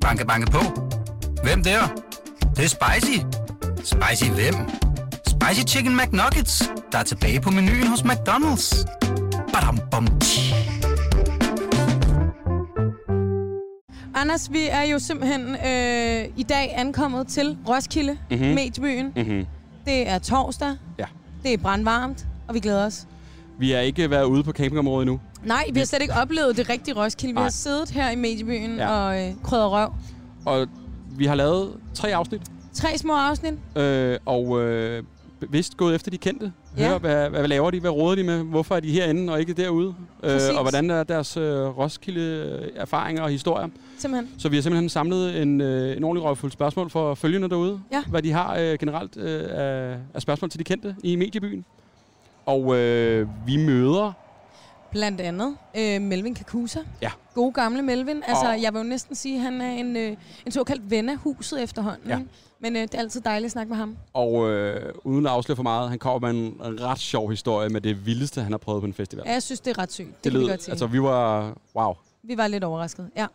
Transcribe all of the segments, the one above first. Banke, banke på. Hvem der? Det, er? det er spicy. Spicy hvem? Spicy Chicken McNuggets, der er tilbage på menuen hos McDonald's. Badum, bom, tji. Anders, vi er jo simpelthen øh, i dag ankommet til Roskilde, Mhm. mm-hmm. mediebyen. Mm-hmm. Det er torsdag, Ja. det er brandvarmt, og vi glæder os. Vi har ikke været ude på campingområdet endnu. Nej, vi har slet ikke oplevet det rigtige Roskilde. Vi Nej. har siddet her i mediebyen Ja. ja. og øh, krødder røv. Og vi har lavet tre afsnit, Tre små afsnit. øh, og øh, bevidst gået efter de kendte. Ja. Hør, hvad, hvad laver de? Hvad råder de med? Hvorfor er de herinde og ikke derude? Øh, Præcis. og hvordan er deres øh, Roskilde-erfaringer og historier? Simpelthen. Så vi har simpelthen samlet en, øh, en ordentlig røvfuld spørgsmål for følgende derude. Ja. Hvad de har øh, generelt øh, af, af spørgsmål til de kendte i mediebyen. Og øh, vi møder... Blandt andet øh, Melvin Kakusa. Ja. Gode gamle Melvin. Altså, Og- jeg vil jo næsten sige, at han er en, øh, en såkaldt ven af huset efterhånden. Ja. Ja. Men øh, det er altid dejligt at snakke med ham. Og øh, uden at afsløre for meget, han kommer med en ret sjov historie med det vildeste, han har prøvet på en festival. Ja, jeg synes, det er ret sygt. Det, det kan vi lød, godt se. altså vi var, wow. Vi var lidt overrasket, ja.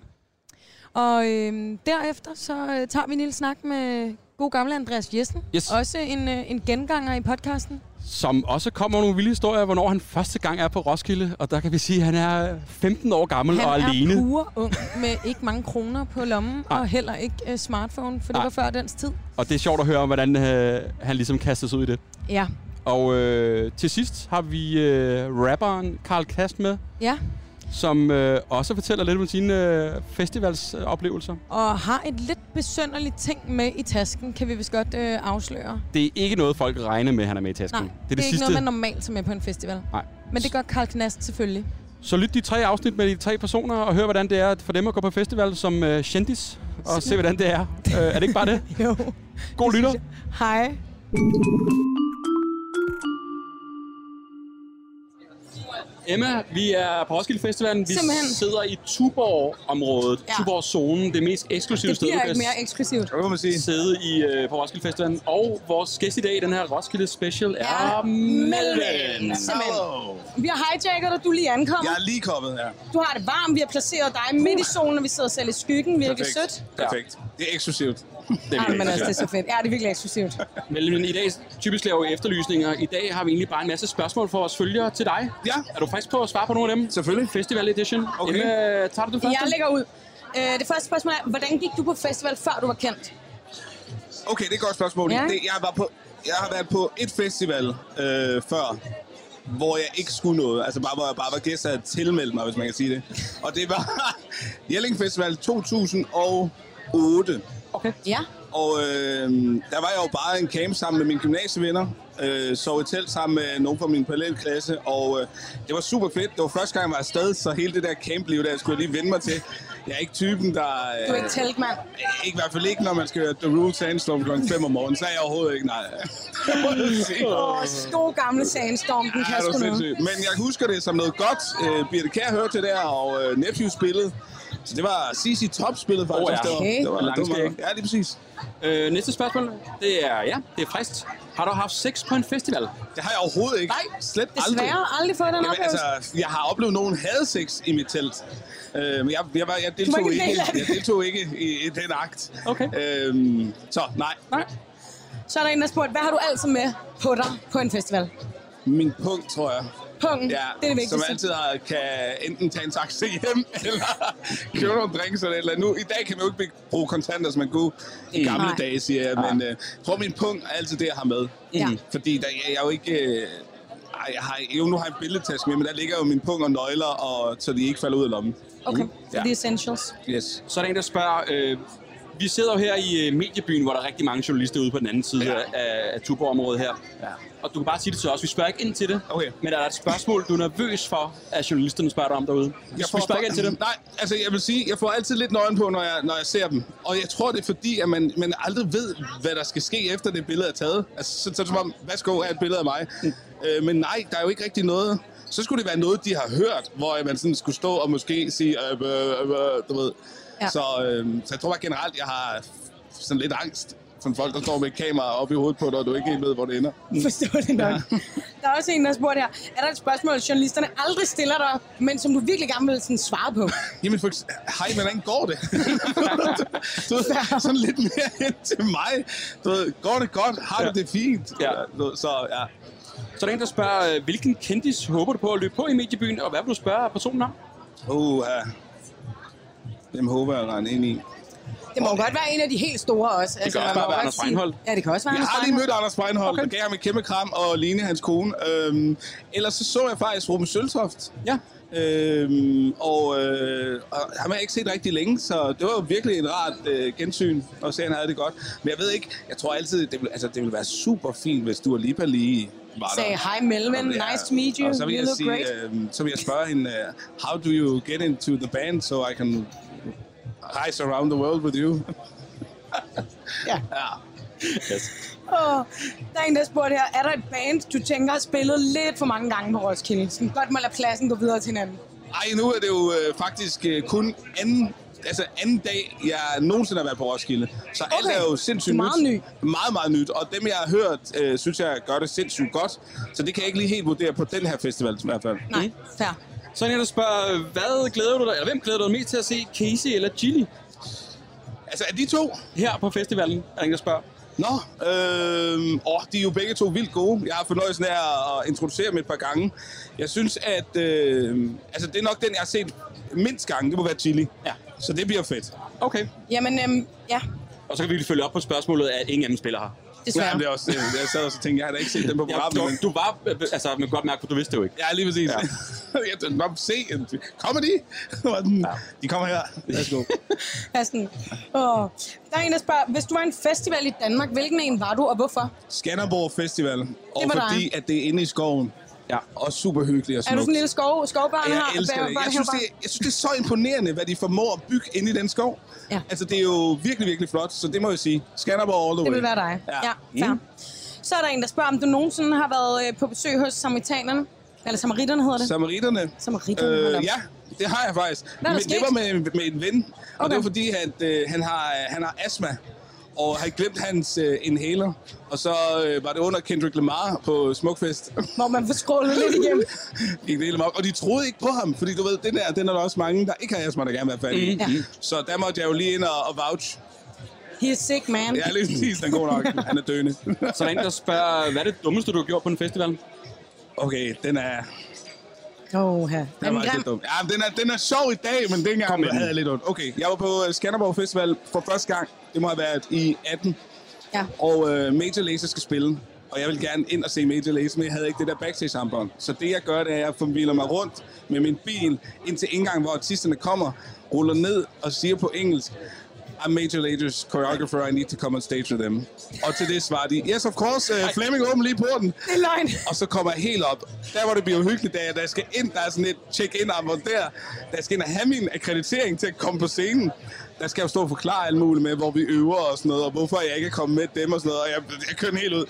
Og øh, derefter så øh, tager vi en lille snak med god gamle Andreas Jessen. Yes. Også en, øh, en genganger i podcasten. Som også kommer nogle vilde historier, hvornår han første gang er på Roskilde, og der kan vi sige, at han er 15 år gammel Han og er alene. pure ung, med ikke mange kroner på lommen, Nej. og heller ikke øh, smartphone, for det Nej. var før dens tid. Og det er sjovt at høre om, hvordan øh, han ligesom kastede sig ud i det. Ja, Og øh, til sidst har vi øh, rapperen Karl Kast med, ja. som øh, også fortæller lidt om sine øh, festivalsoplevelser. Og har et lidt besønderligt ting med i tasken, kan vi vist godt øh, afsløre. Det er ikke noget, folk regner med, han er med i tasken. Nej, det er, det er ikke noget, man normalt tager med på en festival. Nej. Men det gør Karl Knast selvfølgelig. Så lyt de tre afsnit med de tre personer og hør, hvordan det er for dem at gå på festival som øh, kendis. Og se, hvordan det er. øh, er det ikke bare det? Jo. God lytter. Hej. Emma, vi er på Roskilde Festivalen. Vi Simpelthen. sidder i Tuborg-området. Ja. Ja. Tuborg-zonen, det mest eksklusive Det sted, du bliver kan ikke mere eksklusivt. Det må man sige. sidde i, øh, på Roskilde Festivalen. Og vores gæst i dag i den her Roskilde Special er Melvin. Hello. Vi har hijacket dig, du er lige ankommet. Jeg er lige kommet her. Du har det varmt, vi har placeret dig midt i solen, og vi sidder selv i skyggen. Virkelig Perfekt. sødt. Perfekt. Det er eksklusivt. Det Ej, men altså, det er er så fedt. Ja, det er virkelig eksklusivt. Melvin, i dag typisk laver vi efterlysninger. I dag har vi egentlig bare en masse spørgsmål for vores følgere til dig. Ja. Er du frisk på at svare på nogle af dem? Selvfølgelig. Festival Edition. Okay. Emma, tager du først? Jeg lægger ud. Øh, Det første spørgsmål er, hvordan gik du på festival, før du var kendt? Okay, det er et godt spørgsmål. Ja. Ja. Det, jeg, var på, jeg har været på et festival øh, før, hvor jeg ikke skulle noget. Altså bare, hvor jeg bare var gæst og havde tilmeldt mig, hvis man kan sige det. Og det var Jelling Festival 2008. Okay. Ja. Og øh, der var jeg jo bare i en camp sammen med mine gymnasievenner. Øh, sov i telt sammen med nogen fra min parallelklasse. Og øh, det var super fedt. Det var første gang, jeg var afsted, så hele det der campliv der skulle jeg lige vende mig til. Jeg er ikke typen, der... Øh, Du er ikke telt, mand. ikke, I hvert fald ikke, når man skal høre The Rule Sandstorm kl. 5 om morgenen. Så er jeg overhovedet ikke, nej. Det må jeg sige. Åh, god gamle sandstorm, den kan Ja, det var sgu noget. sindssygt. Men jeg husker det som noget godt. Øh, Birte Kær hørte det der, og øh, Nephew spillede. Så det var CC Top spillet faktisk. Åh, ja. Det var- Okay. Det var, det var, Langskæg. ja, lige præcis. Øh, næste spørgsmål, det er, ja, det er frist. Har du haft sex på en festival? Det har jeg overhovedet ikke. Nej, Slet aldrig. Desværre aldrig fået den Jamen, oplevelse. altså, jeg har oplevet, at nogen havde sex i mit telt. Øh, men jeg, jeg, var, jeg, deltog ikke en del ikke, af det. jeg deltog ikke i, i den akt. Okay. Øhm, så nej, Nej. altså- Så er der en, der spurgte, hvad har du altid med på dig på en festival? min punkt, tror jeg. Punkt. Ja, det er det som vigtigste. altid har, kan enten tage en taxi hjem, eller købe nogle drinks eller et eller andet. Nu, I dag kan man jo ikke bruge kontanter, som man kunne i Mm. gamle Nej. dage, siger jeg. Men øh, jeg tror, min punkt er altid det, jeg har med. Mm. Ja. Fordi der, jeg, jeg er jo ikke... Øh, ej, jeg har, jo, nu har jeg en billedtaske med, men der ligger jo min punkt og nøgler, og, så de ikke falder ud af lommen. Mm. Okay, så Ja. det er essentials. Yes. Så er der en, der spørger, øh, vi sidder jo her i øh, mediebyen, hvor der er rigtig mange journalister ude på den anden side ja. Ja. af, af Tuborg-området her. Ja. Og du kan bare sige det til os, vi spørger ikke ind til det. Okay. Men er der et spørgsmål, du er nervøs for, at journalisterne spørger dig om derude? Vi, vi spørger ikke ind til det. Nej, altså jeg vil sige, jeg får altid lidt nøgen på, når jeg, når jeg ser dem. Og jeg tror, det er fordi, at man, man aldrig ved, hvad der skal ske, efter det billede er taget. Altså, så, så er det som om, værsgo, her er et billede af mig. Øh, men nej, der er jo ikke rigtig noget. Så skulle det være noget, de har hørt, hvor man sådan skulle stå og måske sige, øh, øh, øh, du ved. øhm, Ja. Ja. Så, øh, så jeg tror bare generelt, jeg har sådan lidt angst sådan folk, der står med et kamera op i hovedet på dig, og du ikke helt ved, hvor det ender. Forstå det nok. Ja. Der er også en, der spurgte her, er der et spørgsmål, journalisterne aldrig stiller dig, men som du virkelig gerne vil sådan svare på? Jamen, for, ekse- hej, men hvordan går det? du ved, sådan lidt mere hen til mig. Du ved, går det godt? Har ja. Ja. du det fint? Ja. Du ved, Så ja. Så er der en, der spørger, øh, hvilken kendis håber du på at løbe på i mediebyen, og hvad vil du spørge personen om? Uh, ja. Dem håber jeg at rende ind i. Det må jo godt være en af de helt store også. Det kan også man bare være må godt Anders sige- Breinholt. Ja, det kan også være Jeg Anders har lige mødt Anders Breinholt, Okay. okay. der gav ham et kæmpe kram, og Line, hans kone. Øhm, ellers så så jeg faktisk Ruben Søltoft. Ja. Øhm, og, øh, og ham har jeg ikke set rigtig længe, så det var jo virkelig en rart øh, gensyn, og serien havde det godt. Men jeg ved ikke, jeg tror altid, det ville, altså, det ville være super fint, hvis du og Lipa lige var der. Sagde, hej Melvin, Ja, nice to meet you, Og så vil you jeg, look sige, great. øh, så vil jeg spørge hende, øh, how do you get into the band, so I can reise around the world with you? Ja. ja. øh- Åh, der er en, der spurgte her, er der et band, du tænker har spillet lidt for mange gange på Roskilde? Som godt må lade pladsen gå videre til hinanden. Ej, nu er det jo øh, faktisk øh, kun anden, altså anden dag, jeg nogensinde har været på Roskilde. Så okay. alt Okay. er jo sindssygt Det er meget nyt. Meget, meget nyt. Og dem, jeg har hørt, øh, synes jeg gør det sindssygt godt. Så det kan jeg ikke lige helt vurdere på den her festival i hvert fald. Mm. Nej, fair. Så er der en, der spørger, øh, hvad glæder du dig, eller hvem glæder du dig mest til at se, Casey eller Gilly, Altså, er de to? her på festivalen, er der en, der spørger. Nå, øh, åh, de er jo begge to vildt gode. Jeg har fornøjelsen af at introducere dem et par gange. Jeg synes, at øh, altså, det er nok den, jeg har set mindst gange. Det må være Chili. Ja. Så det bliver fedt. Okay. Jamen, øhm, ja, Og så kan vi lige følge op på spørgsmålet, at ingen af dem spiller her. desværre. men det er også, jeg, jeg sad også og tænkte, jeg har da ikke set dem på Ja, programmet. du, men- du var, øh, altså man kan godt mærke, at du vidste jo ikke. Ja, lige præcis. Ja. Ja. jeg tænkte, "Nå, se, kommer de? Og den, Ja. De kommer her. Værsgo. Jeg er sådan, åh. Der er en, der spørger, hvis du var en festival i Danmark, hvilken en var du, og hvorfor? Skanderborg Festival. Og var fordi, dig. at det er inde i skoven. Ja. Og super hyggeligt og Er du smukt. sådan en lille skov, skovbarn her? jeg elsker Bærer- det. bærer- Jeg synes det, bærer- er, jeg synes, det er så imponerende, hvad de formår at bygge inde i den skov. Ja. Altså, det er jo virkelig, virkelig flot, så det må jeg sige. Skanderborg all the way. Det vil være dig. Ja, fair. Mm. Så er der en, der spørger, om du nogensinde har været øh, på besøg hos samaritanerne. Eller samaritterne hedder det. Samaritterne. Øh, Samaritterne, hold op. ja, det har jeg faktisk. Hvad er Men der det var sket? med, med en ven, og Okay. det var fordi, at øh, han, har, han har astma, og han glemt hans øh, inhaler. Og så øh, var det under Kendrick Lamar på Smukfest. Hvor man får skrålet lidt igennem. Gik det hele amok. og de troede ikke på ham, fordi du ved, den der, den er der også mange, der ikke har astma, der gerne vil have fat i. Mm. Ja. Så der måtte jeg jo lige ind og, og vouch. He's sick, man. Ja, lige præcis, den er god nok. Han er døende. Så er der en, der spørger, hvad er det dummeste, du har gjort på en festival? Okay, den er, Åh, her. Den var lidt dum. Ja, men den er, den er sjov i dag, men dengang Kom Kom med den. havde jeg lidt ondt. Okay, jeg var på øh, Skanderborg Festival for første gang. Det må have været i 18. Ja. Og øh, Major Lazer skal spille. Og jeg vil gerne ind og se Major Lazer, men jeg havde ikke det der backstage-armbånd. Så det jeg gør, det er, at jeg forviler mig rundt med min bil indtil indgang, hvor artisterne kommer, ruller ned og siger på engelsk, I'm Major Lazer's choreographer, I need to come on stage with them. Og til det svarer de, yes of course, uh, Flemming åbner lige porten. Det er løgn. Og så kommer jeg helt op. Der, hvor det bliver hyggeligt, da jeg, da jeg skal ind, der er sådan et check-in armbånd der. Da jeg skal ind og have min akkreditering til at komme på scenen, der skal jeg jo stå og forklare alt muligt med, hvor vi øver og sådan noget, og hvorfor jeg ikke er kommet med dem og sådan noget. Og jeg, jeg kører den helt ud.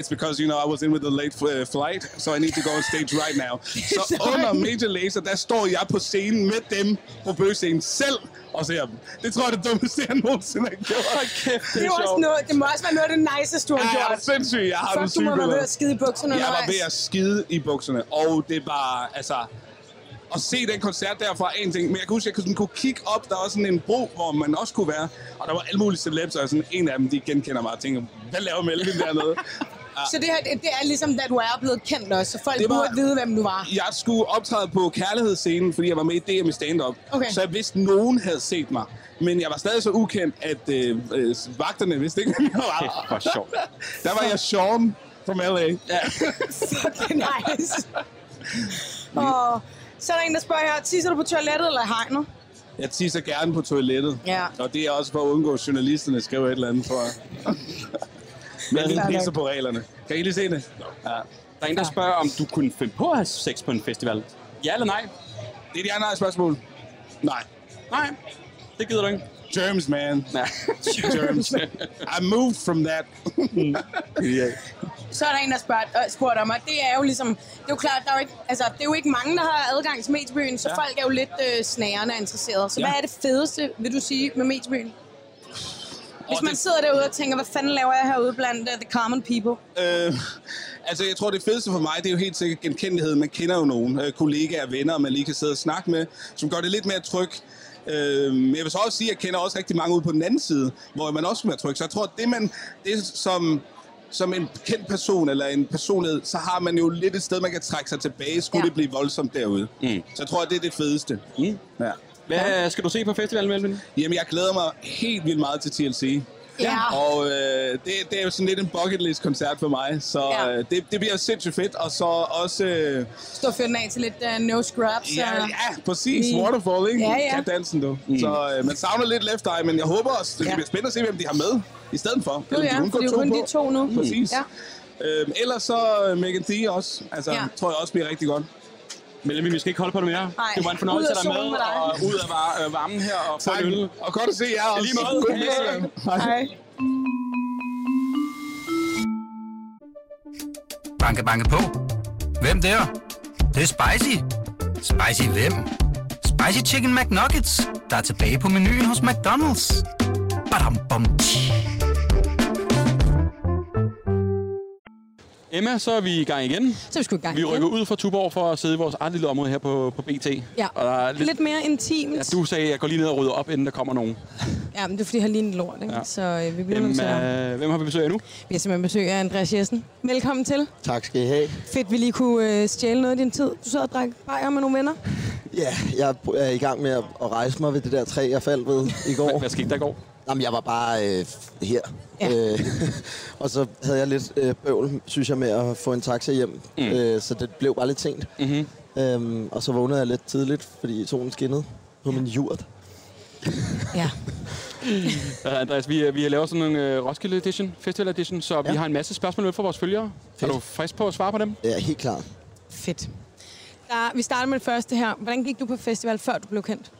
It's because, you know, I was in with a late uh, flight, so I need to go on stage right now. Så under Major Lazer, der står jeg på scenen med dem på bøgescenen selv og ser dem. Det tror jeg er det dummeste, jeg nogensinde har gjort. Kæft, Det, er jo også noget, det må også være noget af det niceste, du har Ja, jeg er gjort. sindssyg. Jeg har det Fuck, du må være ved at skide i bukserne jeg var undervejs. ved at skide i bukserne, og det var, altså... At se den koncert derfra, en ting. Men jeg kan huske, at jeg kunne, sådan, kunne kigge op. Der var sådan en bro, hvor man også kunne være. Og der var alle mulige celebs, og sådan en af dem, de genkender mig og tænker, hvad laver Melvin dernede? Ja. Så det her, det, det er ligesom, da du er blevet kendt også, så folk Det var- burde vide, hvem du var. Jeg skulle optræde på kærlighedsscenen, fordi jeg var med i DM i stand-up. Okay. Så jeg vidste, at nogen havde set mig. Men jeg var stadig så ukendt, at øh, øh, vagterne vidste ikke, hvem jeg var. Kæft, hvor sjovt. Der var jeg Sean from LA. Fucking nice. Og så er der en, der spørger her, tisser du på toilettet eller i hegnet? Jeg tisser gerne på toilettet. Ja. Og det er også for at undgå, at journalisterne skriver et eller andet, tror jeg. Men jeg lige Fair nok. pisser på reglerne. Kan I lige se det? Ja. Der er en, der spørger, om du kunne finde på at have sex på en festival. Ja eller nej? Det er de andre spørgsmål. Nej. Nej, det gider du ikke. Germs, man. Nej. Germs. I moved from that. Mm. Så er der en, der spørger, øh, spurgte om, og det er jo ligesom, det er jo klart, der er jo ikke, altså, det er jo ikke mange, der har adgang til mediebyen, så ja. folk er jo lidt øh, snærende og interesserede. Så ja. Ja. hvad er det fedeste, vil du sige, med mediebyen? Hvis Og man det- sidder derude og tænker, hvad fanden laver jeg herude blandt uh, the common people? Øh, altså, jeg tror, det fedeste for mig, det er jo helt sikkert genkendelighed. Man kender jo nogen øh, kollegaer og venner, man lige kan sidde og snakke med, som gør det lidt mere tryg. Øh, men jeg vil så også sige, at jeg kender også rigtig mange ude på den anden side, hvor man også er mere tryg. Så jeg tror, det man, det som som en kendt person eller en personlighed, så har man jo lidt et sted, man kan trække sig tilbage, skulle Ja. ja. det blive voldsomt derude. Mm. Så jeg tror, det er det fedeste. Mm. Ja. Hvad øh, skal du se på festivalen, Melvin? Jamen, jeg glæder mig helt vildt meget til TLC. Ja. Og øh, det, det er jo sådan lidt en bucket list koncert for mig, så Ja. ja. øh, det, det bliver sindssygt fedt. Og så også, øh, Stå og fyre den af til lidt uh, no scrubs. ja, og- ja, præcis, Lige- Waterfall, ikke? Ja, ja. Kan dansen, du. Mm. Så øh, man savner lidt Left Eye, men jeg håber også, det Ja. ja. bliver spændende at se, hvem de har med i stedet for. Nu ja, kun for går det er jo kun de to nu. Mm. Præcis. Ja. Ja. Øhm, ellers så øh, Megan Thee også, altså Ja. ja. tror jeg også bliver rigtig godt. Melvin, vi skal ikke holde på det mere. Nej. Det var en fornøjelse Ud af at være med, solen med dig. og ud af var- øh, varmen her og få Tak, en øl. og godt at se jer også. lige måde. God Hej. festival. Hej. Hej. Banke, banke på. Hvem der? Det, det er spicy. Spicy hvem? Spicy Chicken McNuggets, der er tilbage på menuen hos McDonald's. Badum, bom, tji. Emma, så er vi i gang igen. Så er vi sgu i gang. Vi igen. rykker ud fra Tuborg for at sidde i vores eget lille område her på, på BT. Ja. Og der er lidt, Lidt mere intimt. ja, du sagde, at jeg går lige ned og rydder op, inden der kommer nogen. Ja, men det er fordi, jeg har lige en lort, ikke? Ja. Så øh, vi bliver nødt Hvem, til at... øh, hvem har vi besøg af nu? Vi har simpelthen besøg af Andreas Jessen. Velkommen til. Tak skal I have. Fedt, vi lige kunne øh, stjæle noget af din tid. Du sad og drak bajer med nogle venner. Ja, jeg er i gang med at at rejse mig ved det der træ, jeg faldt ved i går. Hvad skete der i går? Jamen, jeg var bare øh, her. Ja. Øh, og så havde jeg lidt øh, bøvl, synes jeg, med at få en taxa hjem. Mm. Øh, så det blev bare lidt sent. Mhm. Øhm, og så vågnede jeg lidt tidligt, fordi solen skinnede på min jurt. Ja. Uh, Andreas, vi, øh, vi har lavet sådan en uh, Roskilde Edition, Festival Edition, så ja. vi har en masse spørgsmål med fra vores følgere. Fedt. Fedt. Er du frisk på at svare på dem? Ja, helt klart. Fedt. Der, vi starter med det første her. Hvordan gik du på festival, før du blev kendt?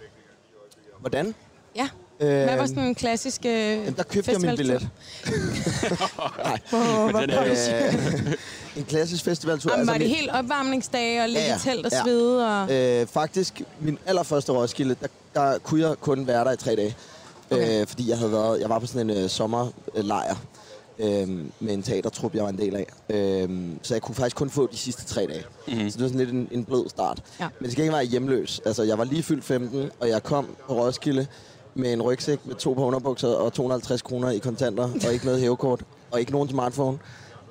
Hvordan? Ja. Øh, Hvad var sådan en klassisk øh, der købte jeg min festivaltur? billet. Hvor, hvor, den er jo- Øh, en klassisk festivaltur. Jamen, var det Altså, min- helt opvarmningsdage og ligge Ja, ja, ja. i telt og Ja. svede? Og... Øh, faktisk, min allerførste Roskilde, der, der kunne jeg kun være der i tre dage. Okay. Okay. Øh, fordi jeg havde været, jeg var på sådan en øh, sommerlejr øh, med en teatertrup, jeg var en del af. Øh, så jeg kunne faktisk kun få de sidste tre dage. Mm-hmm. Så det var sådan lidt en, en blød start. Ja. Men det skal ikke være hjemløs. Altså, jeg var lige fyldt 15, og jeg kom på Roskilde med en rygsæk med to par underbukser og 250 kroner i kontanter, og ikke noget hævekort, og ikke nogen smartphone.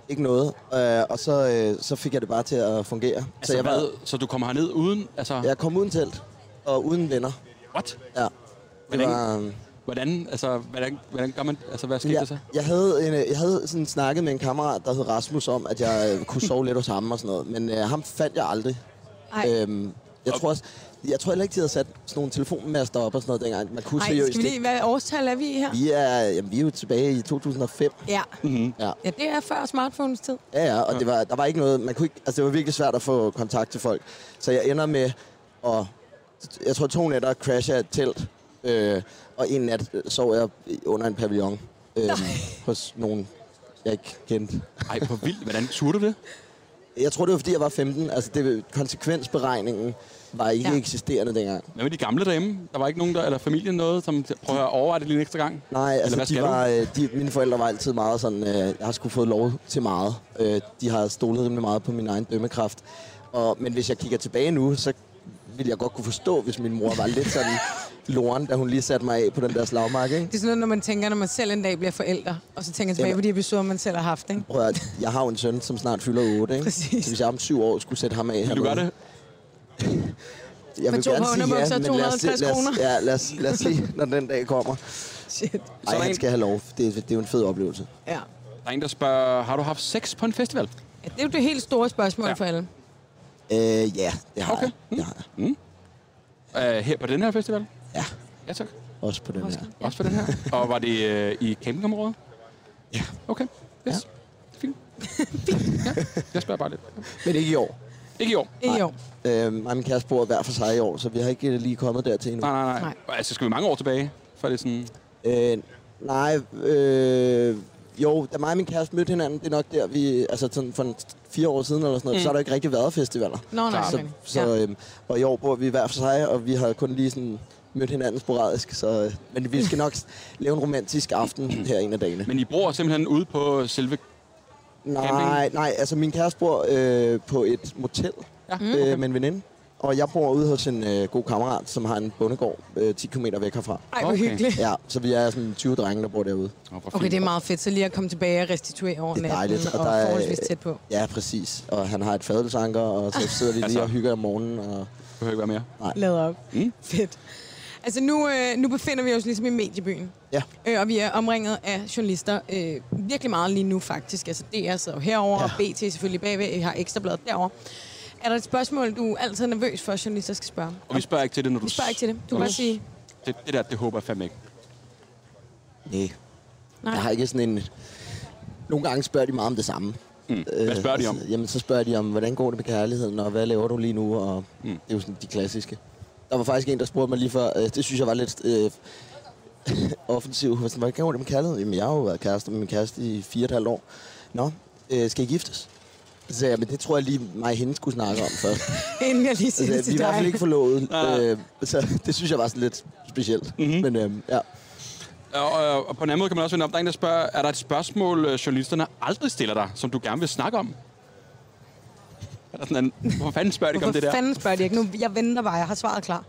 Ikke noget. Øh, og så, øh, så fik jeg det bare til at fungere. Altså, så jeg var, hvad? så du kommer herned uden? Altså, ja. jeg kom uden telt og uden venner. what? Ja. Det Hvordan? var, øhm, Hvordan, altså, hvordan, hvordan gør man? Altså, hvad skete der så? jeg, jeg, havde en, øh, jeg havde sådan snakket med en kammerat, der hed Rasmus, om, at jeg øh, kunne sove lidt hos ham og sådan noget. Men øh, ham fandt jeg aldrig. Ej. Øhm, jeg, tror også, jeg tror heller ikke, de havde sat sådan nogle telefonmaster op og sådan noget dengang. Man kunne Ej, seriøst skal vi lige, ikke. hvad årstal er vi i her? Vi er, jamen, vi er jo tilbage i 2005. Ja. Ja. Mhm. ja, det er før smartphones tid. Ja, ja, og det var, der var ikke noget, man kunne ikke, altså det var virkelig svært at få kontakt til folk. Så jeg ender med at, jeg tror to nætter crasher jeg et telt, øh, og en nat øh, sov jeg under en pavillon øh, hos nogen, jeg ikke kendte. Ej, hvor vildt. Hvordan turde du det? Jeg tror, det var, fordi jeg var 15. Altså, det, konsekvensberegningen var ikke Ja. ja. eksisterende dengang. Hvad med de gamle derhjemme? Der var ikke nogen der, eller familien noget, som prøver at overveje det lige en ekstra gang? Nej, eller hvad altså, skal de var, øh, de, mine forældre var altid meget sådan, øh, jeg har sgu fået lov til meget. Øh, de har stolet rimelig meget på min egen dømmekraft. Og, men hvis jeg kigger tilbage nu, så ville jeg godt kunne forstå, hvis min mor var lidt sådan loren, da hun lige satte mig af på den der slagmark, ikke? Det er sådan noget, når man tænker, når man selv en dag bliver forældre, og så tænker tilbage på Jamen. de episoder, man selv har haft, ikke? Prøv at, høre, jeg har jo en søn, som snart fylder 8, ikke? Præcis. Så hvis jeg om syv år skulle sætte ham af du? Vil du gøre det? Jeg Med vil to gerne par sige underbukser ja, og men lad os, se- 250 lad os, kroner. ja, lad os, lad os se, når den dag kommer. Shit. Ej, der en- han skal have lov. Det, er- det er jo en fed oplevelse. Ja. Der er en, der spørger, har du haft sex på en festival? ja. Det er jo det helt store spørgsmål Ja. ja. for alle. Øh, ja, det har Okay. jeg. Det har jeg. Mm. Uh, her på den her festival? Ja, Ja, tak. også på den her. Ja. Også på den her. Og var det øh, i campingområdet? Ja. Okay. Yes. Ja. Fint. ja. Jeg spørger bare lidt. Men ikke i år. Ikke i år. Ikke jo. Øh, mig og min kæreste bor hver for sig i år, så vi har ikke øh, lige kommet dertil endnu. Nej, nej, nej. Nej. nej. Altså, skal vi mange år tilbage? For det er sådan... Øh, nej, øh, jo, da mig og min kæreste mødte hinanden, det er nok der, vi, altså sådan for en fire år siden eller sådan noget, mm. så har der ikke rigtig været festivaler. Nå, nej, så, okay. så, Ja. øhm, og i år bor vi hver for sig, og vi har kun lige sådan mødt hinanden sporadisk, så, øh, men vi skal nok s- lave en romantisk aften her en af dagene. Men I bor simpelthen ude på selve... Nej, camping? nej, altså min kæreste bor øh, på et motel ja, Mm, okay. øh, med en veninde, og jeg bor ude hos en øh, god kammerat, som har en bondegård øh, 10 km væk herfra. Ej, hvor Okay. hyggeligt. Ja, så vi er sådan 20 drenge, der bor derude. Oh, hvor Okay, fint. det er meget fedt. Så lige at komme tilbage og restituere over Det er natten dejligt, og, og og der er- forholdsvis tæt på. Ja, præcis. Og han har et fadelsanker, og så sidder vi Altså. lige og hygger om morgenen. Og behøver ikke være mere. Lad op. Mm. Fedt. Altså nu, øh, nu befinder vi os ligesom i mediebyen. Ja. Øh, og vi er omringet af journalister øh, virkelig meget lige nu faktisk. Altså DR sidder jo herovre, ja. og BT selvfølgelig bagved, I har Ekstrabladet derovre. Er der et spørgsmål, du er altid nervøs for, at journalister skal spørge? Og vi spørger ikke til det, når du... Vi spørger ikke til det. Du når kan bare sige, Det, det der, det håber jeg fandme ikke. nej, nej. jeg har ikke sådan en... Nogle gange spørger de meget om det samme. Mm. Hvad spørger de om? Jamen, så spørger de om, hvordan går det med kærligheden, og hvad laver du lige nu? Og mm. Det er jo sådan de klassiske. Der var faktisk en, der spurgte mig lige før, øh, det synes jeg var lidt øh, offensiv. Hun var sådan, Hvordan går det med kærligheden? Jamen, jeg har jo været kærester med min kæreste i fire og et halvt år. Nå, øh, skal I giftes? Så sagde jeg, men det tror jeg lige mig og hende skulle snakke om først. Inden jeg lige siger Altså, det vi til er i hvert fald ikke dig. forlovet, øh, så det synes jeg var sådan lidt specielt. Mhm. Mm-hmm. Men øh, ja, Og, og, og på en anden måde kan man også vende om, der er en, der spørger, er der et spørgsmål, øh, journalisterne aldrig stiller dig, som du gerne vil snakke om? Er der sådan en, hvor fanden spørger de ikke om det Hvorfor der? fanden spørger de ikke nu? Jeg venter bare, jeg har svaret klar.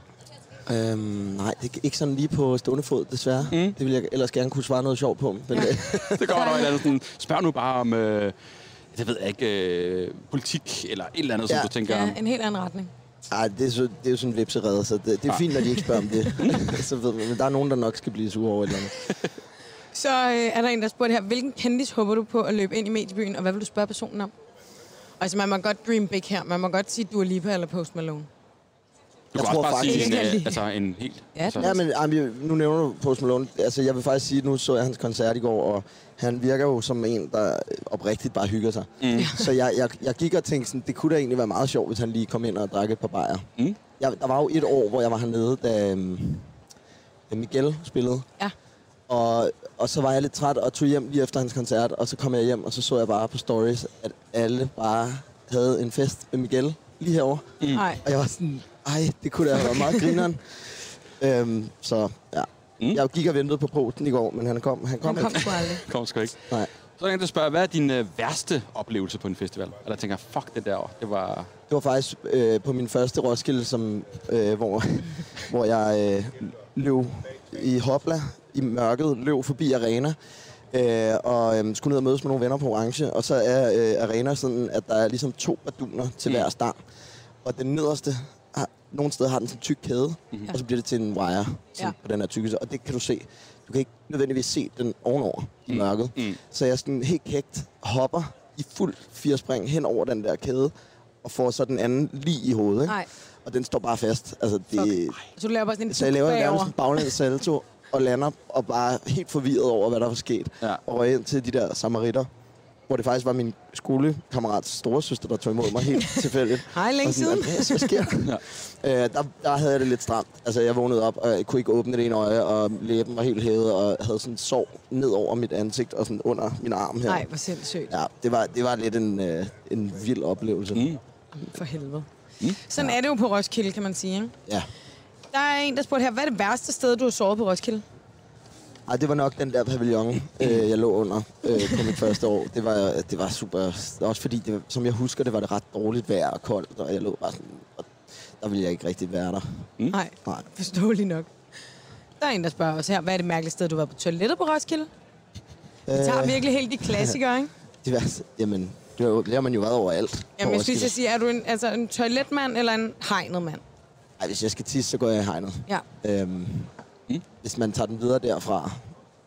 øh, nej, det er ikke sådan lige på stående fod, desværre. Mm. Det ville jeg ellers gerne kunne svare noget sjovt på. Men, ja. Det kommer der et eller andet sådan, spørg nu bare om, øh, det ved jeg ikke, øh, politik eller et eller andet, ja. Ja. som du tænker, Ja, ja. en helt anden retning. ej, det, er så, det er jo sådan en vipserede, så det, det er fint, når de ikke spørger om det. så ved man, men der er nogen, der nok skal blive sure over et eller andet. Så øh, er der en, der spurgte her, hvilken kendis håber du på at løbe ind i mediebyen, og hvad vil du spørge personen om? Altså, man må godt dream big her. Man må godt sige Dua Lipa eller Post Malone. du Jeg kan tror også bare faktisk- sige en, Ikke øh, lige. altså en helt... Ja, altså, Ja, men ej, men jeg- nu nævner du Post Malone. Altså, jeg vil faktisk sige, at nu så jeg hans koncert i går, og han virker jo som en, der oprigtigt bare hygger sig. Mm. Så jeg, jeg, jeg gik og tænkte, sådan, det kunne da egentlig være meget sjovt, hvis han lige kom ind og drak et par bajer. Mm. Jeg, der var jo et år, hvor jeg var hernede, da, øhm, da Miguel spillede. Ja. Og, og så var jeg lidt træt og tog hjem lige efter hans koncert, og så kom jeg hjem, og så så jeg bare på stories, at alle bare havde en fest med Miguel lige herovre. Nej. Og jeg var sådan, ej, det kunne da have været meget grineren. øhm, så ja. Mm. Jeg gik og ventede på posten i går, men han kom, han kom, Han kom ikke. sgu aldrig. Kom sgu ikke. Nej. Så er der en, der spørger, hvad er din øh, værste oplevelse på en festival? Og der tænker, jeg, fuck det der, det var... Det var faktisk øh, på min første Roskilde, som, øh, hvor, hvor jeg øh, løb i Hopla i mørket, løb forbi Arena. Øh, og øh, skulle ned og mødes med nogle venner på Orange. Og så er øh, Arena sådan, at der er ligesom to baduner til mm. hver stang. Og den nederste, har, nogle steder har den sådan en tyk kæde, mm-hmm. og så bliver det til en wire sådan, Ja. ja. på den her tykkelse. Og det kan du se. Du kan ikke nødvendigvis se den ovenover i mørket. Mm. Så jeg sådan helt kægt hopper i fuld firespring hen over den der kæde, og får så den anden lige i hovedet. Ikke? Nej. Og den står bare fast. Altså, det, Så du laver bare sådan en så jeg laver nærmest bagover. en baglæns salto og lander og bare helt forvirret over, hvad der var sket. Ja. Og røg ind til de der samaritter, hvor det faktisk var min skolekammerats storesøster, der tog imod mig helt tilfældigt. Hej, længe Og siden. "Hvad- Hvad sker der? ja. øh, der? Der havde jeg det lidt stramt. Altså, jeg vågnede op, og jeg kunne ikke åbne det ene øje, og læben var helt hævet, og havde sådan en sår ned over mit ansigt og sådan under min arm her. Nej, hvor sindssygt. Ja, det var, det var lidt en, øh, en vild oplevelse. Mm. For helvede. Sådan er det jo på Roskilde, kan man sige. Ikke? Ja. Der er en, der spurgte her, hvad er det værste sted, du har sovet på Roskilde? Ej, det var nok den der pavillon, Mm. øh, jeg lå under øh, på mit første år. Det var, det var super. Også fordi, det, var- som jeg husker, det var det ret dårligt vejr og koldt, og jeg lå bare sådan... Og der ville jeg ikke rigtig være der. Nej, Mm. Nej. forståeligt nok. Der er en, der spørger os her, hvad er det mærkeligste sted, du har været på toilettet på Roskilde? Vi tager Øh. virkelig helt de klassikere, ikke? Det var, jamen, det, var, jo- det har man jo været overalt. på Jamen, jeg synes, Roskilde. jeg siger, er du en, altså, en toiletmand eller en hegnet mand? Ej, hvis jeg skal tisse, så går jeg i hegnet. Ja. Mm. Øhm, Hvis man tager den videre derfra,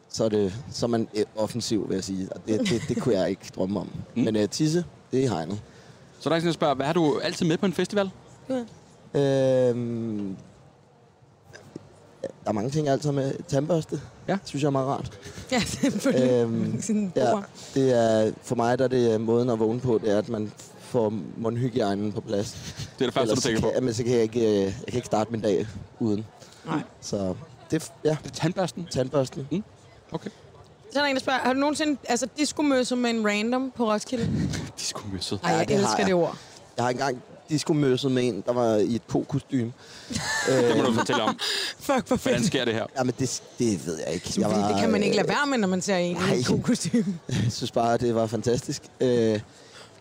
så er, det, så er man øh, offensiv, vil jeg sige. Og det, det, det kunne jeg ikke drømme om. Mm. Men øh, tisse, det er i hegnet. Så er der en, der spørger, hvad har du altid med på en festival? Øhm, der er mange ting, jeg altid har med. Tandbørste, Ja. synes jeg er meget rart. Ja, selvfølgelig. Øhm, Sådan en ja, bord. det er, for mig der er det øh, måden at vågne på, det er, at man får mundhygiejnen på plads. Det er det første, du Ellers så tænker kan, på. Jamen, så kan jeg, ikke, øh, jeg kan ikke starte min dag uden. Nej. Så det, f- ja, Det er tandbørsten. Mm. tandbørsten. Okay. Så er der en, der spørger, har du nogensinde altså, diskomøsset med en random på Roskilde? De skulle møsset. Nej, Ja, jeg det har elsker jeg. det ord. Jeg har engang diskomøsset med en, der var i et kokostyme. Det må du fortælle om. Fuck, hvor Hvordan fedt. sker det her? Jamen, det, det ved jeg ikke. Jeg Fordi det kan man ikke lade være med, når man ser en i nej. en god kostume. Jeg synes bare, det var fantastisk. Øh, ej,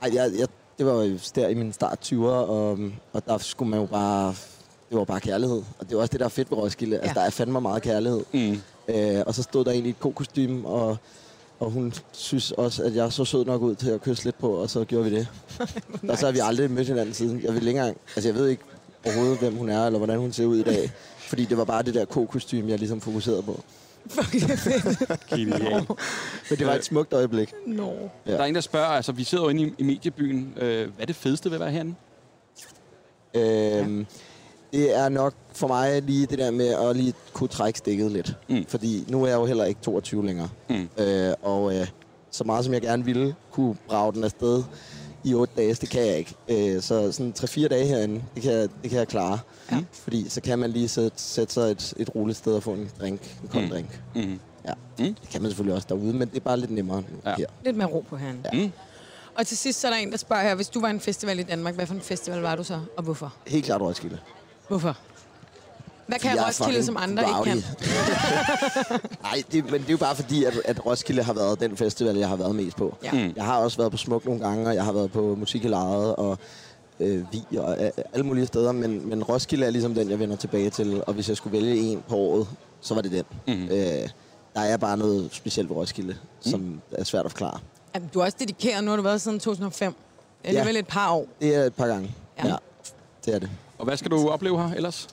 jeg, jeg, det var jo der i min start 20'er, og, og der skulle man jo bare... Det var bare kærlighed. Og det var også det, der er fedt ved Roskilde. Ja. Altså, Ja. der er fandme meget kærlighed. Mm. Øh, og så stod der en i et kokostyme, og, og hun synes også, at jeg så sød nok ud til at kysse lidt på, og så gjorde vi det. nice. Og så har vi aldrig mødt hinanden siden. Jeg, vil ikke engang, altså, jeg ved ikke overhovedet, hvem hun er, eller hvordan hun ser ud i dag. Fordi det var bare det der kokostyme, jeg ligesom fokuserede på. Fuck, det er fedt. Genial. Men det var et smukt øjeblik. Nå. Der er en, der spørger, altså vi sidder jo inde i, i mediebyen, øh, hvad er det fedeste ved at være herinde? Øhm, Det er nok for mig lige det der med at lige kunne trække stikket lidt. Mm. Fordi nu er jeg jo heller ikke 22 længere. Mm. Øh, og øh, så meget som jeg gerne ville kunne brage den afsted i 8 dage, det kan jeg ikke. Øh, så sådan 3-4 dage herinde, det kan, jeg- det kan jeg klare. Ja. Fordi så kan man lige sætte, sætte sig et, et roligt sted og få en drink, en kold Mm. mm. drink. Mm. Ja. Mm. Det kan man selvfølgelig også derude, men det er bare lidt nemmere nu Ja. ja. her. Lidt mere ro på herren. Ja. Mm. Og til sidst så er der en, der spørger her, hvis du var en festival i Danmark, hvad for en festival var du så, og hvorfor? Helt klart Roskilde. Hvorfor? Hvad kan Jeg er Roskilde, fucking som andre ikke kan? rowdy. Nej, det, men det er jo bare fordi, at, at Roskilde har været den festival, jeg har været mest på. Ja. Mm. Jeg har også været på Smuk nogle gange, og jeg har været på Musikalaget og øh, Vi og øh, alle mulige steder. Men, men Roskilde er ligesom den, jeg vender tilbage til. Og hvis jeg skulle vælge en på året, så var det den. Mm. Øh, der er bare noget specielt ved Roskilde, som er svært at forklare. Jamen, Du er også dedikeret, nu har du været siden 2005. Det er Ja. alligevel et par år. Det er et par gange. Ja. det er det. Og hvad skal du opleve her ellers?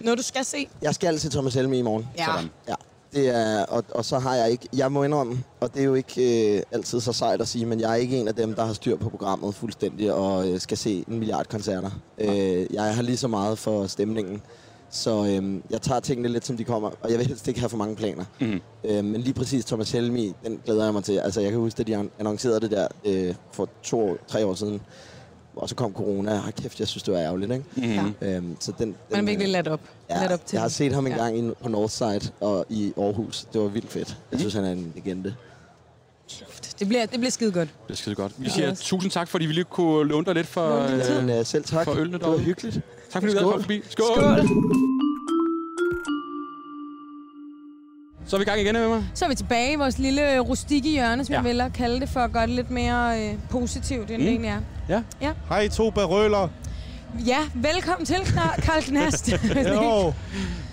Noget, du skal se? Jeg skal se Thomas Helme i morgen. Ja. Sådan. Ja. Det er, og, og så har jeg ikke... Jeg må indrømme, og det er jo ikke øh, altid så sejt at sige, men jeg er ikke en af dem, der har styr på programmet fuldstændig og øh, skal se en milliard koncerter. Øh, jeg har lige så meget for stemningen. Så øh, jeg tager tingene lidt, som de kommer, og jeg vil helst ikke have for mange planer. Mm. Øh, men lige præcis Thomas Helmi, den glæder jeg mig til. Altså, jeg kan huske, at de an- annoncerede det der øh, for to, år- tre år siden. Og så kom corona. Hold kæft, jeg synes, det var ærgerligt, ikke? Mm. Ja. Øhm, så den, den, Man er virkelig øh, ladt op. Ja, ladt op til jeg har det. set ham en Ja. gang ja. på Northside og i Aarhus. Det var vildt fedt. Mhm. Jeg synes, han er en legende. Det bliver, det bliver skide godt. Det skal godt. Vi siger tusind tak, fordi vi lige kunne låne dig lidt for... Øh, Men uh, selv tak. for ølene det var derude. hyggeligt. tak fordi du Skål. kom forbi. Skål. Skål! Så er vi i gang igen, Emma. Så er vi tilbage i vores lille rustikke hjørne, som ja. Ja. jeg vil at kalde det, for at gøre det lidt mere øh, positivt, end mm. det egentlig er. Ja. Hej, to barøler. Ja, velkommen til, Knar- Karl Knast. Jo.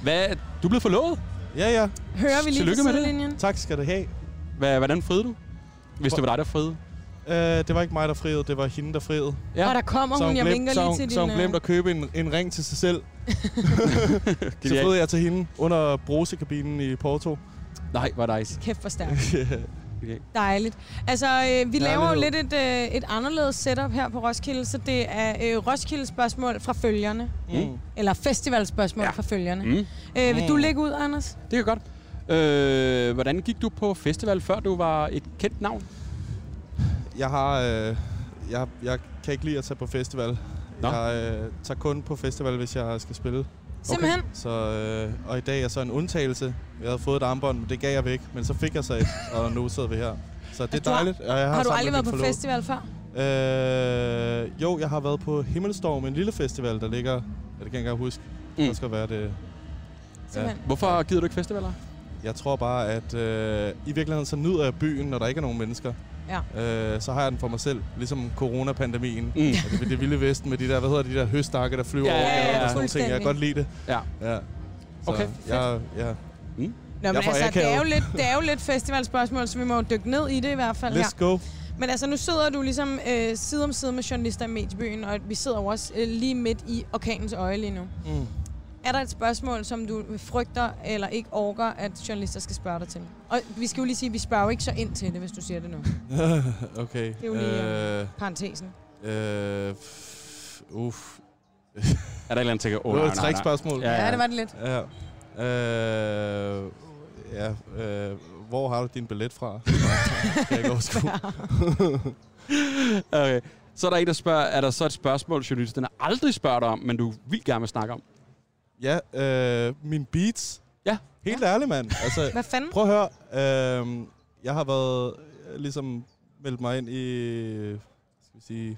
Hvad, du er blevet forlovet? Ja, ja. Hører vi lige på Tillykke med det. sidelinjen? Tak skal du have. Hvad, hvordan friede du? Hvis det var dig, der friede. Uh, det var ikke mig, der friede. Det var hende, der friede. Ja. Og der kommer hun, jeg vinker så, lige hun, til din... så hun glemte øh, at købe en, en ring til sig selv. Så Genialt. friede jeg til hende under brusekabinen i Porto. Nej, var nice. Kæft for stærkt. Dejligt. Altså, øh, vi laver jo lidt et, øh, et anderledes setup her på Roskilde, så det er øh, Roskilde-spørgsmål fra følgerne. Mm. Eller festivalspørgsmål ja. fra følgerne. Mm. Øh, vil du lægge ud, Anders? Det kan godt. Øh, hvordan gik du på festival, før du var et kendt navn? Jeg har... Øh, jeg, jeg kan ikke lide at tage på festival. Nå. Jeg øh, tager kun på festival, hvis jeg skal spille. Simpelthen. Så, øh, og i dag er så en undtagelse. Jeg havde fået et armbånd, men det gav jeg væk. Men så fik jeg så et, og nu sidder vi her. Så det er Du har- dejligt. og jeg Har, har du sammen aldrig med været på min forlovede- festival før? Øh, jo, jeg har været på Himmelstorm, en lille festival, der ligger... Ja, det kan jeg ikke engang huske. Mm. Det skal være det... Simpelthen. Hvorfor gider du ikke festivaler? Jeg tror bare, at øh, i virkeligheden så nyder jeg byen, når der ikke er nogen mennesker. Ja. Øh, så har jeg den for mig selv, ligesom coronapandemien. Mm. Det, det vilde vesten med de der, hvad hedder de der høstakke, der flyver Ja, over ja, ja, gaderne ja. og sådan nogle ting. Jeg kan godt lide det. Ja. Ja. Så, Okay, jeg, ja. Nå, men Jeg altså, får det er, akavet. jo lidt, det er jo lidt festivalspørgsmål, så vi må jo dykke ned i det i hvert fald. Let's go. Men altså, nu sidder du ligesom øh, side om side med journalister i mediebyen, og vi sidder jo også øh, lige midt i orkanens øje lige nu. Mm. Er der et spørgsmål, som du frygter eller ikke orker, at journalister skal spørge dig til? Og vi skal jo lige sige, at vi spørger jo ikke så ind til det, hvis du siger det nu. Okay. er jo lige, ja. øh, Parentesen. øh, pff, uff. Er der et eller andet, tænker, åh, Det var et trickspørgsmål. Ja, ja det var det lidt. Ja. Øh, ja, øh, hvor har du din billet fra? Jeg kan ikke overskue. Okay. Så er der en, der spørger, er der så et spørgsmål, journalisterne aldrig spørger dig om, men du vil gerne vil snakke om? Ja, øh, min beats. Ja. Helt ja. ærligt, mand. Altså, Hvad fanden? prøv at høre. Øh, jeg har været øh, ligesom meldt mig ind i, skal vi sige,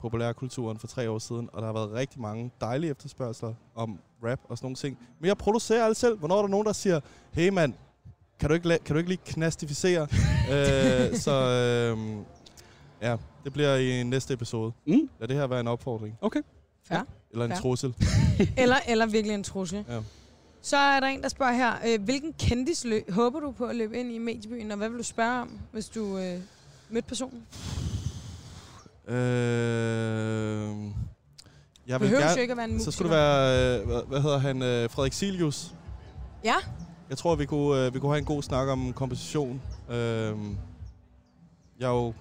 populærkulturen for tre år siden, og der har været rigtig mange dejlige efterspørgseler om rap og sådan nogle ting. Men jeg producerer alt selv. Hvornår er der nogen, der siger, hey mand, kan du ikke, la- kan du ikke lige knastificere? øh, så øh, ja, det bliver i næste episode. Mm. Lad det her være en opfordring. Okay. Fair. Eller en Fair. trussel. Eller, eller virkelig en trussel. Ja. Så er der en, der spørger her, øh, hvilken kendis lø- håber du på at løbe ind i mediebyen, og hvad vil du spørge om, hvis du øh, mødte personen? Øh, jeg vil Behøver gerne, jo ikke at være en musiker. Så skulle det være, øh, hvad, hvad hedder han, øh, Frederik Silius. Ja. Jeg tror, vi kunne, øh, vi kunne have en god snak om komposition. Øh, jeg er jo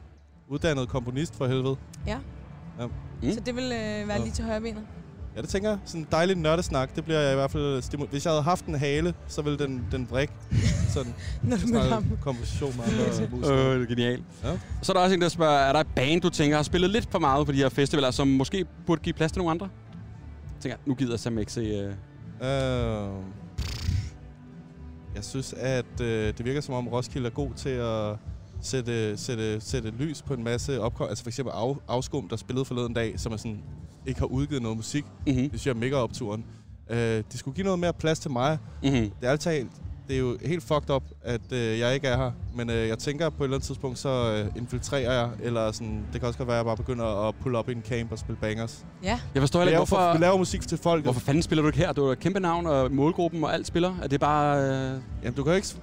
uddannet komponist for helvede. Mm. Så det vil øh, være Ja. lige til højre benet. Ja, det tænker jeg. Sådan en dejlig nørdesnak, det bliver jeg i hvert fald stimuleret. Hvis jeg havde haft en hale, så ville den, den vrikke. Sådan Når du møder ham. snakke komposition med andre musikere. Øh, det er genialt. Ja. Så er der også en, der spørger, er der et band, du tænker har spillet lidt for meget på de her festivaler, som måske burde give plads til nogle andre? Jeg tænker, nu gider Sam ikke se... Øh... Øh, jeg synes, at øh, det virker som om Roskilde er god til at sætte, sætte, sætte lys på en masse opkom. Altså for eksempel af, Afskum, der spillede forleden dag, som er sådan, ikke har udgivet noget musik. Mm-hmm. Det synes jeg er mega opturen. Øh, de skulle give noget mere plads til mig. Mm-hmm. Det er alt talt, det er jo helt fucked up, at øh, jeg ikke er her. Men øh, jeg tænker på et eller andet tidspunkt, så øh, infiltrerer jeg. Eller sådan, det kan også godt være, at jeg bare begynder at pulle op i en camp og spille bangers. Ja. Jeg forstår heller Vi ikke, laver, for, vi hvorfor... laver musik til folk. Hvorfor fanden spiller du ikke her? Du er et kæmpe navn, og målgruppen og alt spiller. Er det bare... Øh... Jamen, du kan jo ikke s-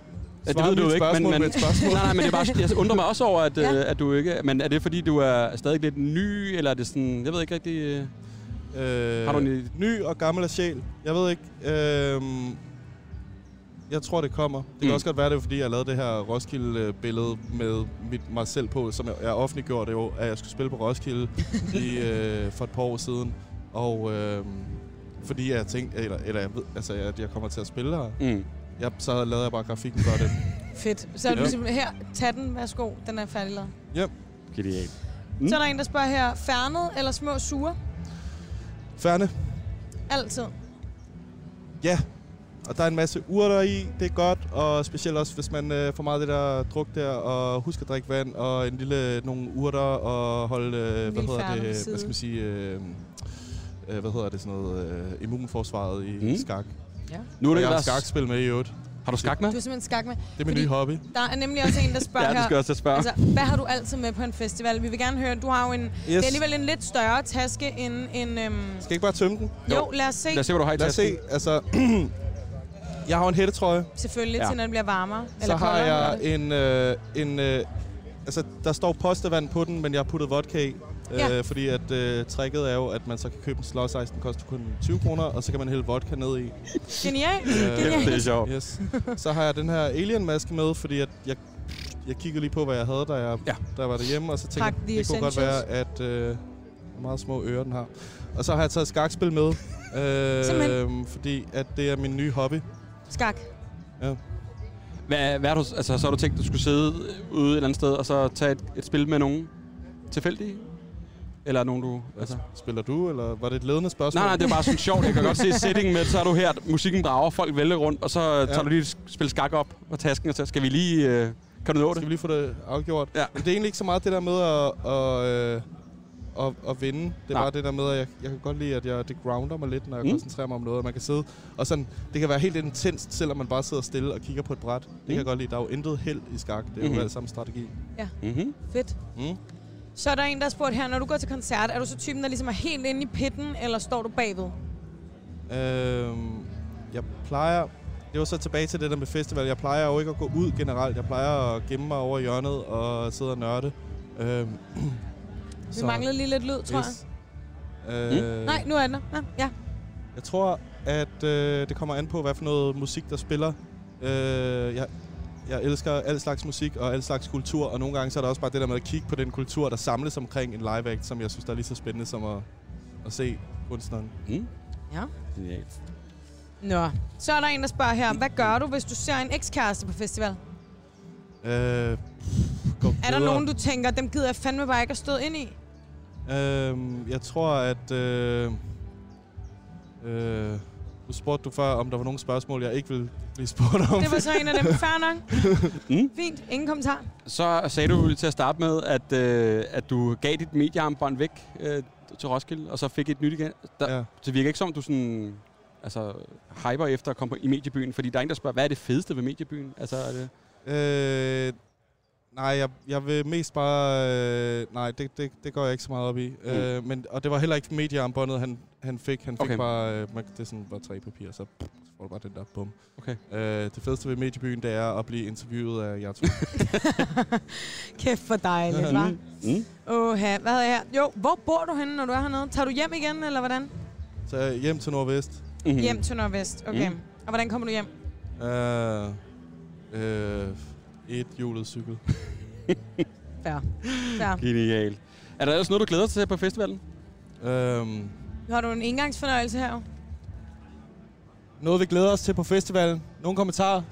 Ja, det svare ved du mit jo ikke, men, spørgsmål men, med et spørgsmål. nej, nej, men det er bare, jeg undrer mig også over, at, Ja. ja. øh, at du ikke... Men er det, fordi du er stadig lidt ny, eller er det sådan... Jeg ved ikke rigtig... Øh... Øh, Har du en- Ny og gammel af sjæl. Jeg ved ikke. Øh, jeg tror, det kommer. Det kan Mm. også godt være, det er, fordi jeg lavede det her Roskilde-billede med mit, mig selv på, som jeg, jeg offentliggjorde jo, at jeg skulle spille på Roskilde i, øh, for et par år siden. Og øh, fordi jeg tænkte, eller, eller jeg ved, altså, at jeg kommer til at spille her, Mm. jeg, så lavede jeg bare grafikken for det. Fedt. Så er Ja. Mm. du simpelthen her, tag den, værsgo, den er færdiglavet. Genialt. Mm. Så er der en, der spørger her, færnet eller små sure? Færne, Altid. Ja, og der er en masse urter i, det er godt, og specielt også, hvis man øh, får meget af det der druk der, og husk at drikke vand, og en lille, nogle urter, og holde, øh, hvad lille hedder færne det, ved hvad siden. skal man sige, øh, øh, hvad hedder det, sådan noget, øh, immunforsvaret i Mm. mm. skak. Nu er Og det jeg har ellers... skakspil med i øvrigt. Har du skak med? Du er simpelthen skak med. Det er min Fordi- nye hobby. Der er nemlig også en, der spørger Ja, det her, skal jeg også spørge. altså, hvad har du altid med på en festival? Vi vil gerne høre, du har jo en, yes. det er alligevel en lidt større taske end en... Øhm, Skal jeg ikke bare tømme den? jo, jo, lad os se, Lad os se, hvad du har i Lad os se, tasken. altså, jeg har jo en hættetrøje, selvfølgelig, Ja. ja. til når det bliver varmere. så har koldere, jeg eller- en, øh, en øh, altså der står postevand på den, men jeg har puttet vodka i. Øh, Ja. Fordi at øh, tricket er jo, at man så kan købe en slåsejs, den koster kun 20 kroner, og så kan man hælde vodka ned i. Genial. Øh, Det er sjovt. yes. Så har jeg den her alien-maske med, fordi at jeg, jeg kiggede lige på, hvad jeg havde, da jeg, Ja. ja. da jeg var derhjemme, og så tænkte Pakke jeg, the det kunne godt være, at øh, hvor meget små ører den har. Og så har jeg taget skakspil med, Simpelthen. øh, fordi at det er min nye hobby. Skak. Hvad, hvad har du, altså, så har du tænkt, at du skulle sidde ude et eller andet sted, og så tage et, et spil med nogen tilfældige? Eller nogen, du... Altså? Spiller du, eller var det et ledende spørgsmål? Nej, nej, det er bare sådan sjovt. Jeg kan godt se settingen med, så er du her, musikken drager, folk vælger rundt, og så ja. tager du lige et spil skak op på tasken, og så skal vi lige... Øh, kan du nå Skal vi det? lige få det afgjort? Ja. Men det er egentlig ikke så meget det der med at, at, øh, at, at vinde. Det er Nej. bare det der med, at jeg, jeg kan godt lide, at jeg, det grounder mig lidt, når jeg Mm. mm. koncentrerer mig om noget. Og man kan sidde, og sådan, det kan være helt intenst, selvom man bare sidder stille og kigger på et bræt. Det mm. kan jeg godt lide. Der er jo intet held i skak. Det er jo Mhm. alt sammen strategi. Mm-hmm. Fedt. Mm. Så er der en, der har spurgt her, når du går til koncert, er du så typen, der ligesom er helt inde i pitten, eller står du bagved? Øhm, jeg plejer... Det var så tilbage til det der med festival. Jeg plejer jo ikke at gå ud generelt. Jeg plejer at gemme mig over i hjørnet og sidde og nørde. Øhm, Vi manglede lige lidt lyd, tror yes. jeg. Mm. Øh, Nej, nu er den der. Nå, Ja. Jeg tror, at øh, det kommer an på, hvad for noget musik, der spiller. Øh, jeg, jeg elsker al slags musik og al slags kultur, og nogle gange så er der også bare det der med at kigge på den kultur, der samles omkring en live act, som jeg synes, der er lige så spændende som at, at se kunstneren. Mm. Ja. Genialt. Nå. Så er der en, der spørger her, hvad gør du, hvis du ser en ekskæreste på festival? Øh, pff, gå Er der videre. nogen, du tænker, dem gider jeg fandme bare ikke at stå ind i? Øhm, Øh, jeg tror, at... Øh, øh, Nu spurgte du før, om der var nogle spørgsmål, jeg ikke ville blive spurgt om. Det var så en af dem. Fair nok. Fint. Ingen kommentar. Så sagde du til at starte med, at, øh, at du gav dit mediearmbånd væk øh, til Roskilde, og så fik et nyt igen. Der, Ja. ja. Det virker ikke som, du sådan, altså, hyper efter at komme på, i mediebyen, fordi der er ingen, der spørger, hvad er det fedeste ved mediebyen? Altså, er det, Øh, nej, jeg, jeg vil mest bare... Øh, nej, det, det, det går jeg ikke så meget op i. Mm. Øh, men, og det var heller ikke mediearmbåndet, han, han fik. Han fik Okay. okay. bare... Øh, man, det er sådan bare tre papirer, så, pff, så får du bare den der bum. okay. Øh, det fedeste ved mediebyen, det er at blive interviewet af jer to. Kæft for dejligt, hva'? Mm. Åh, hvad havde jeg her? Jo, hvor bor du henne, når du er hernede? Tager du hjem igen, eller hvordan? Mm. så øh, hjem til Nordvest. Mm-hmm. Hjem til Nordvest, okay. Mm. Mm. Og hvordan kommer du hjem? Øh, øh, et hjulet cykel. Fair. Fair. Genial. Er der ellers noget, du glæder dig til på festivalen? Øhm, Har du en engangsfornøjelse her? jo? noget, vi glæder os til på festivalen. Nogle kommentarer?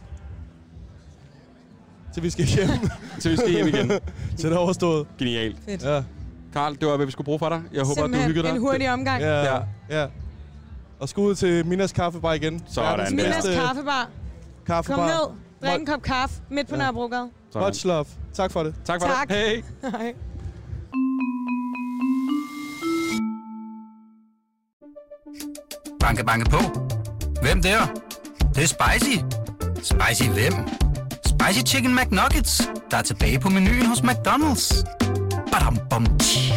Til vi skal hjem. Til vi skal hjem igen. til det er overstået. Genialt. Ja. Karl, det var, hvad vi skulle bruge for dig. Jeg håber, at du hyggede dig. en hurtig omgang. Yeah. Ja, Ja. ja. Og skud til Minas Kaffebar igen. Sådan Verdens der. Minas bedste kaffebar. Kom kaffebar. ned. Drik en kop kaffe midt på ja. Nørrebrogade. Sådan. Much love. Tak for det. Tak for Tak. det. Hej. Hej. Banke, banke på. Hvem der? Det, det er spicy. Spicy hvem? Spicy Chicken McNuggets, der er tilbage på menuen hos McDonald's. Badum, bom, tji.